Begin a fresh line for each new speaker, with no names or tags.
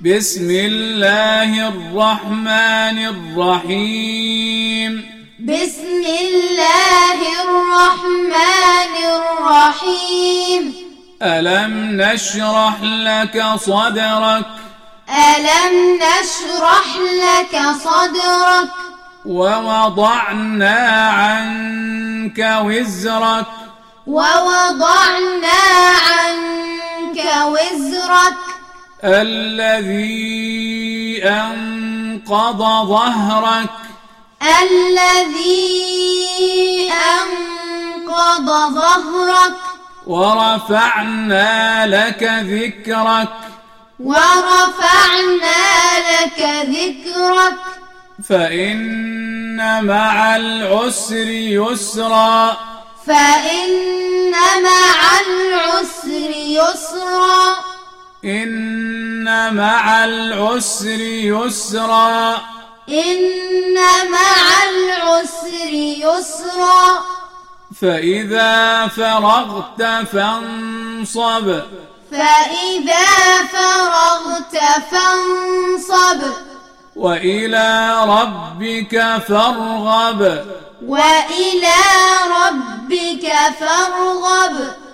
بسم الله الرحمن الرحيم
بسم الله الرحمن الرحيم
ألم نشرح لك صدرك
ألم نشرح لك صدرك
ووضعنا عنك وزرك
ووضعنا عنك وزرك
الذي أنقض ظهرك
الذي أنقض ظهرك
ورفعنا لك ذكرك
ورفعنا لك ذكرك
فإن مع العسر يسرا
فإن مع العسر يسرا
إن مع العسر يسرا
إن مع العسر يسرا
فإذا فرغت فانصب
فإذا فرغت فانصب
وإلى ربك فارغب
وإلى ربك فارغب